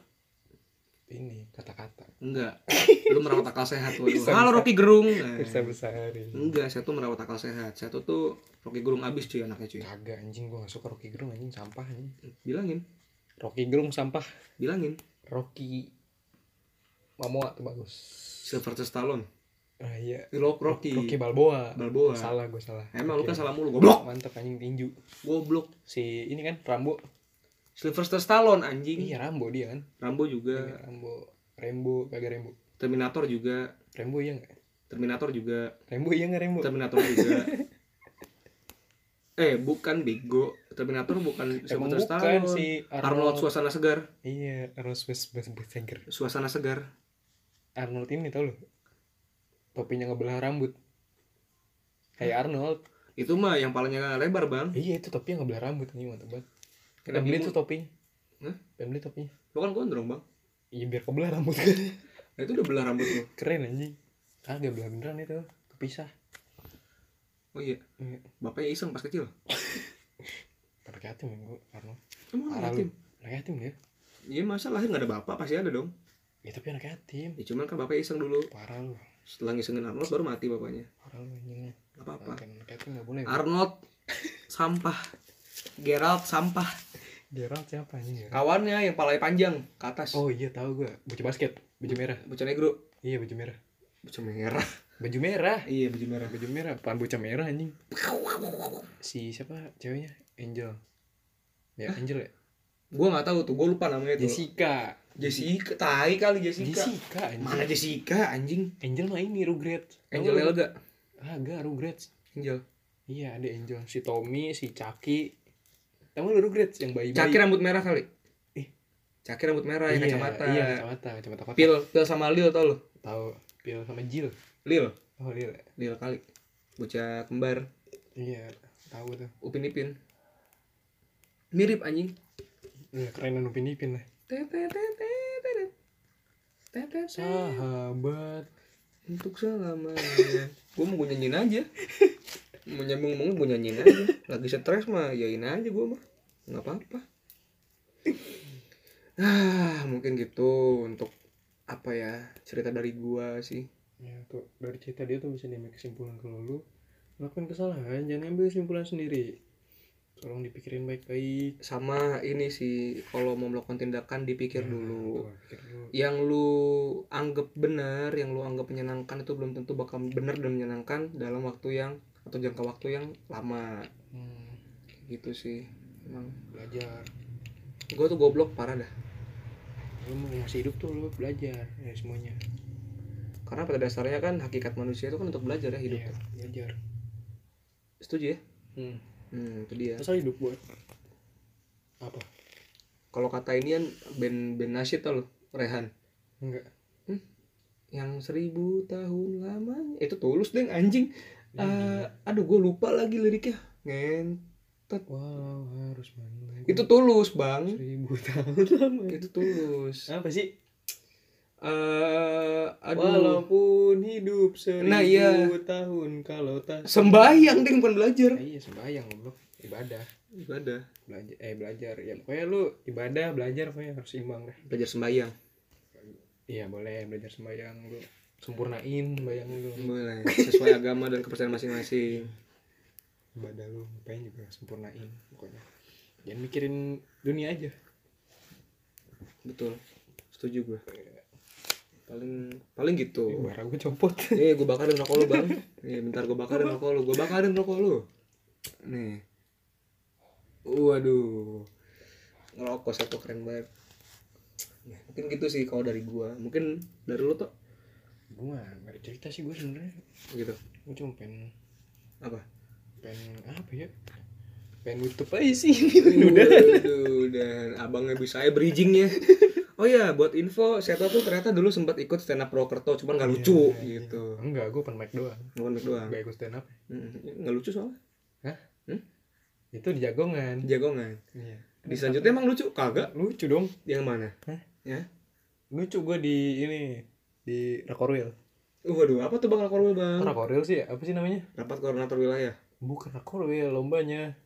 Speaker 1: ini kata-kata.
Speaker 2: enggak lu merawat akal sehat lu
Speaker 1: Bisa,
Speaker 2: halo
Speaker 1: bisa.
Speaker 2: Rocky Gerung Nah.
Speaker 1: Bisa bersehari.
Speaker 2: Enggak, saya tuh merawat akal sehat. Saya tuh tuh Rocky Gerung abis cuy anaknya cuy.
Speaker 1: Kagak anjing gue gak suka Rocky Gerung anjing sampah anjing.
Speaker 2: Bilangin,
Speaker 1: Rocky Gerung sampah.
Speaker 2: bilangin.
Speaker 1: Rocky Mamoa tuh bagus.
Speaker 2: Sylvester Stallone.
Speaker 1: Ah iya.
Speaker 2: Eh, Lo Rocky.
Speaker 1: Rocky Balboa.
Speaker 2: Balboa.
Speaker 1: Salah gue salah.
Speaker 2: Emang lu
Speaker 1: Rocky.
Speaker 2: kan salah mulu goblok.
Speaker 1: Mantap anjing tinju.
Speaker 2: Goblok.
Speaker 1: Si ini kan Rambo.
Speaker 2: Sylvester Stallone anjing.
Speaker 1: Iya Rambo dia kan.
Speaker 2: Rambo juga,
Speaker 1: Iya, Rambo. Rembo kagak Rembo.
Speaker 2: Terminator juga,
Speaker 1: Rembo iya enggak?
Speaker 2: Terminator juga,
Speaker 1: Rembo iya enggak Rembo?
Speaker 2: Terminator juga. eh, bukan bego. Terminator bukan
Speaker 1: Emang
Speaker 2: Sylvester
Speaker 1: bukan
Speaker 2: Stallone.
Speaker 1: si
Speaker 2: Arnold
Speaker 1: Arnold.
Speaker 2: suasana segar,
Speaker 1: Iya, Arnold Schwarzenegger.
Speaker 2: suasana segar.
Speaker 1: Arnold ini tau lu. Topinya ngebelah rambut. Kayak Arnold.
Speaker 2: Itu mah yang palanya lebar bang.
Speaker 1: iya itu topi yang ngebelah rambut ini mantap banget pengen
Speaker 2: Kenapa
Speaker 1: beli
Speaker 2: gua-
Speaker 1: tuh topinya
Speaker 2: Hah?
Speaker 1: pengen beli topinya
Speaker 2: Lo kan gondrong bang.
Speaker 1: iya biar kebelah rambut
Speaker 2: Nah, itu udah belah rambut lo.
Speaker 1: keren anjing kagak belah beneran itu kepisah
Speaker 2: Oh iya.
Speaker 1: Iya.
Speaker 2: Bapaknya iseng pas kecil.
Speaker 1: tapi yatim ya gue karena
Speaker 2: Emang
Speaker 1: parah
Speaker 2: anak
Speaker 1: lu
Speaker 2: yatim.
Speaker 1: anak yatim dia
Speaker 2: Iya masa lahir nggak ada bapak pasti ada dong.
Speaker 1: ya tapi anak yatim
Speaker 2: Ya cuman kan bapak iseng dulu.
Speaker 1: parah lu
Speaker 2: Setelah ngisengin Arnold baru mati bapaknya.
Speaker 1: parah lu anjingnya
Speaker 2: Gak apa-apa.
Speaker 1: anak anak yatim nggak boleh
Speaker 2: Arnold sampah. Gerald sampah.
Speaker 1: Gerald siapa anjing Gerald?
Speaker 2: Kawannya yang palanya panjang ke atas.
Speaker 1: oh iya tahu gue baju basket baju merah
Speaker 2: Bocah negro.
Speaker 1: iya baju merah
Speaker 2: Bocah merah.
Speaker 1: baju merah
Speaker 2: Iya baju merah.
Speaker 1: baju merah apaan bocah merah anjing si siapa ceweknya Angel ya Angel ya
Speaker 2: Gua nggak tahu tuh. Gua lupa namanya tuh.
Speaker 1: Jessica
Speaker 2: Gitu. Jessica. Tai kali Jessica.
Speaker 1: Jessica anjing
Speaker 2: Mana Jessica anjing?
Speaker 1: Angel mah ini Rugrats
Speaker 2: Angel
Speaker 1: Tahu lu?
Speaker 2: Elga.
Speaker 1: kagak Rugrats
Speaker 2: Angel.
Speaker 1: iya ada Angel si Tommy si Chucky tahu lu Rugrats yang bayi bayi
Speaker 2: Cakir rambut merah kali.
Speaker 1: Ih.
Speaker 2: Cakir rambut merah yang kacamata.
Speaker 1: iya kacamata kacamata kotak
Speaker 2: Pil, pil sama Lil tau lo?
Speaker 1: tahu Pil sama Jill
Speaker 2: Lil,
Speaker 1: oh Lil ya?
Speaker 2: Lil kali. Bocah kembar,
Speaker 1: iya tahu tuh
Speaker 2: Upin Ipin. Mirip anjing.
Speaker 1: iya kerenan Upin Ipin lah
Speaker 2: Tet, tet, tet, tet,
Speaker 1: Ah.
Speaker 2: tet. Tet, tet, tet.
Speaker 1: sahabat
Speaker 2: Untuk selamanya. gue mau gue nyanyiin aja. Mau nyambung ngomong gue nyanyiin aja. Lagi stres mah yain aja gue mah. Nggak apa-apa. Ah, mungkin gitu untuk apa ya cerita dari gua sih.
Speaker 1: ya tuh dari cerita dia tuh bisa diambil kesimpulan kalau lu melakukan kesalahan jangan ambil kesimpulan sendiri tolong dipikirin baik-baik
Speaker 2: sama ini sih kalau mau melakukan tindakan
Speaker 1: Ya,
Speaker 2: dipikir dulu
Speaker 1: tuh, pikir dulu
Speaker 2: yang lu anggap benar yang lu anggap menyenangkan itu belum tentu bakal benar dan menyenangkan dalam waktu yang atau jangka waktu yang lama
Speaker 1: hmm,
Speaker 2: gitu sih emang
Speaker 1: belajar
Speaker 2: gue tuh goblok parah dah
Speaker 1: lu mau ngasih hidup tuh lu belajar ya semuanya
Speaker 2: karena pada dasarnya kan hakikat manusia itu kan untuk belajar ya hidup
Speaker 1: Iya, belajar
Speaker 2: setuju ya
Speaker 1: hmm.
Speaker 2: hmm itu dia
Speaker 1: masa hidup buat apa
Speaker 2: kalau kata ini kan Ben Ben Nasir tau lo Rehan Hmm?
Speaker 1: enggak
Speaker 2: yang seribu tahun lamanya itu tulus deng anjing
Speaker 1: Iya,
Speaker 2: Eh, aduh gue lupa lagi liriknya ngen
Speaker 1: wow harus mandi
Speaker 2: itu tulus bang
Speaker 1: seribu tahun lama
Speaker 2: itu tulus
Speaker 1: apa sih
Speaker 2: eh aduh
Speaker 1: walaupun hidup seribu
Speaker 2: Nah, iya.
Speaker 1: tahun kalau tak
Speaker 2: sembayang ding bukan belajar
Speaker 1: Nah, iya sembahyang goblok ibadah
Speaker 2: ibadah
Speaker 1: belajar eh belajar ya pokoknya lu ibadah belajar pokoknya harus imbang dah
Speaker 2: belajar sembayang
Speaker 1: iya boleh belajar sembahyang lu sempurnain sembahyang lu
Speaker 2: boleh sesuai agama dan kepercayaan masing-masing
Speaker 1: ibadah lu ngapain juga sempurnain pokoknya jangan mikirin dunia aja
Speaker 2: betul setuju gue Iya. paling paling gitu
Speaker 1: bara gue copot
Speaker 2: eh gue bakarin rokok lu bang eh bentar gue bakarin rokok lu gue bakarin rokok lu nih waduh ngerokok satu keren banget Nah, mungkin gitu sih kalau dari gua mungkin dari lu tuh
Speaker 1: gue mah gak ada cerita sih gue sebenarnya
Speaker 2: gitu
Speaker 1: gue cuma pengen
Speaker 2: apa
Speaker 1: pengen apa ya pengen nutup aja sih udah
Speaker 2: Waduh, dan abangnya bisa ya bridgingnya. Oh ya, buat info, Seto tuh ternyata dulu sempat ikut stand up Prokerto, cuman nggak lucu gitu.
Speaker 1: Iya, enggak gue open mic doang
Speaker 2: Cuman mic doang.
Speaker 1: gak ikut stand up
Speaker 2: Mm, Nggak lucu soalnya.
Speaker 1: Hah?
Speaker 2: Hmm?
Speaker 1: itu di jagongan
Speaker 2: Jagongan.
Speaker 1: iya
Speaker 2: Di selanjutnya emang lucu? Kagak.
Speaker 1: lucu dong
Speaker 2: Yang mana?
Speaker 1: Hah?
Speaker 2: Ya.
Speaker 1: lucu gue di ini di Rakorwil
Speaker 2: Uh, Waduh, apa tuh bakal korwil bang?
Speaker 1: Rakorwil sih ya? apa sih namanya
Speaker 2: Rapat koordinator wilayah.
Speaker 1: bukan Rakorwil lombanya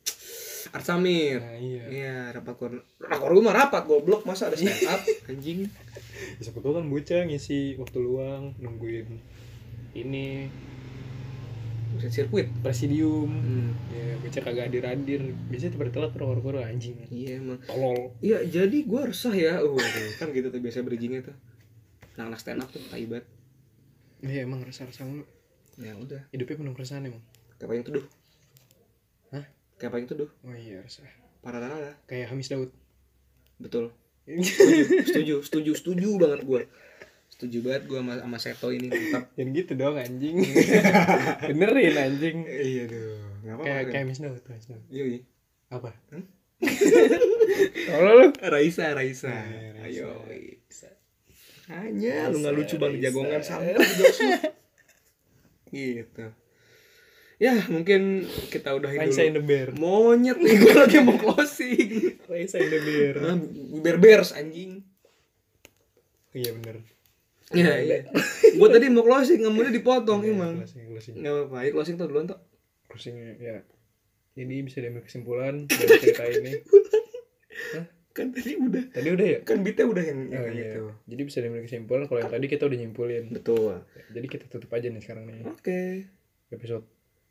Speaker 2: Arsamir.
Speaker 1: nah iya
Speaker 2: Iya, rapat koordinator. Rakorwil mah rapat goblok, masa ada stand up? Anjing.
Speaker 1: siapa tahu kan bocah ngisi waktu luang nungguin ini
Speaker 2: Buset sirkuit.
Speaker 1: presidium
Speaker 2: Hmm.
Speaker 1: ya bocah kagak hadir hadir biasanya tuh pada telat Rakorwil anjing
Speaker 2: Iya emang.
Speaker 1: tolol
Speaker 2: Iya, jadi gue resah ya. Uh, kan gitu tuh biasa bridgingnya tuh. Anak-anak stand up tuh taibat.
Speaker 1: iya emang rasa-rasa mulu
Speaker 2: Ya udah,
Speaker 1: hidupnya penuh keresahan emang
Speaker 2: kayak payung teduh.
Speaker 1: Hah?
Speaker 2: Kayak payung teduh.
Speaker 1: oh iya resah
Speaker 2: Pararara.
Speaker 1: kayak Hamis Daud
Speaker 2: Betul. Setuju, setuju, setuju, setuju banget gua. Setuju banget gua sama, sama Seto ini. Mantap.
Speaker 1: Jangan gitu dong anjing Benerin anjing
Speaker 2: Iya tuh. Enggak
Speaker 1: Kayak kayak Hamis Daud Hamis Daud.
Speaker 2: Iya, iya.
Speaker 1: Apa?
Speaker 2: Hmm?
Speaker 1: Tolol lu
Speaker 2: Eh, Raisa, Raisa.
Speaker 1: Iya, Raisa.
Speaker 2: Ayo. Raisa. Hanya lu
Speaker 1: Raisa,
Speaker 2: nggak lucu banget
Speaker 1: Raisa.
Speaker 2: jagongan sama jokes lu. Gitu. ya mungkin kita udahin
Speaker 1: Raisa in
Speaker 2: dulu
Speaker 1: the bear
Speaker 2: monyet nih gue lagi mau closing
Speaker 1: Raisa in the bear
Speaker 2: Ah, berbers anjing
Speaker 1: iya bener
Speaker 2: Iya, iya. Gue tadi mau closing, kemudian dipotong emang.
Speaker 1: Iya, closing closing
Speaker 2: Gak apa-apa, ya closing tuh duluan tuh.
Speaker 1: closing ya jadi bisa diambil kesimpulan dari cerita ini
Speaker 2: Kan tadi udah,
Speaker 1: tadi udah ya
Speaker 2: kan beatnya udah yang
Speaker 1: Oh,
Speaker 2: yang
Speaker 1: iya.
Speaker 2: gitu.
Speaker 1: jadi bisa diambil kesimpulan kalau yang tadi kita udah nyimpulin
Speaker 2: Betul.
Speaker 1: jadi kita tutup aja nih sekarang nih
Speaker 2: Oke,
Speaker 1: episode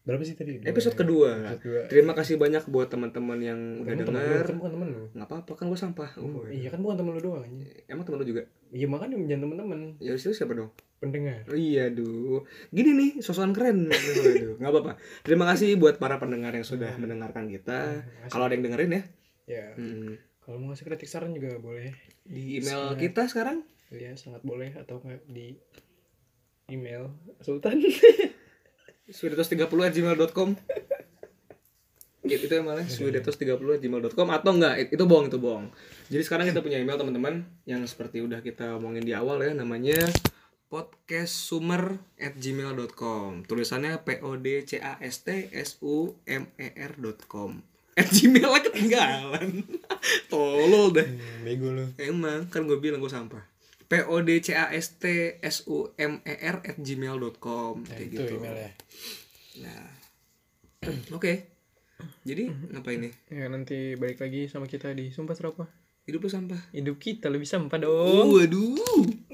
Speaker 1: berapa sih tadi Dua
Speaker 2: episode
Speaker 1: ya?
Speaker 2: kedua.
Speaker 1: episode kedua
Speaker 2: Terima kasih banyak buat teman-teman yang udah
Speaker 1: Kamu temen lu,
Speaker 2: dengar.
Speaker 1: kan bukan temen lu
Speaker 2: Nggak apa-apa, kan gue sampah. Oh,
Speaker 1: iya kan bukan temen lu doang anjing.
Speaker 2: Emang temen lu juga?
Speaker 1: iya makanya jangan temen-temen
Speaker 2: Ya itu siapa dong?
Speaker 1: pendengar
Speaker 2: Oh, Iya, duh. Gini nih, sosokan keren. Aduh, nggak apa-apa. Terima kasih buat para pendengar yang sudah mendengarkan kita.
Speaker 1: Makasih.
Speaker 2: Ah, Kalau ada yang dengerin ya,
Speaker 1: Iya, ya
Speaker 2: hmm,
Speaker 1: kalau mau ngasih kritik saran juga boleh
Speaker 2: di email kita sekarang
Speaker 1: ya sangat boleh atau nggak di email Sultan
Speaker 2: sudetos30@gmail.com. Ya, itu emailnya sudetos30@gmail.com atau enggak it- itu bohong itu bohong. Jadi sekarang kita punya email teman-teman yang seperti udah kita omongin di awal ya namanya podcastsumer@gmail.com. Tulisannya p o d c a s t s u m e r.com. At gmail lah ketinggalan. Tolol dah.
Speaker 1: Hmm, bego lu
Speaker 2: Emang kan gue bilang gue sampah. P O D C A S T S U M E R at gmail.com kayak
Speaker 1: itu
Speaker 2: gitu.
Speaker 1: emailnya
Speaker 2: Nah. Oke. Jadi ngapain nih?
Speaker 1: ya nanti balik lagi sama kita di sumpah serapah
Speaker 2: Hidup lu sampah.
Speaker 1: hidup kita lebih sampah dong
Speaker 2: Waduh.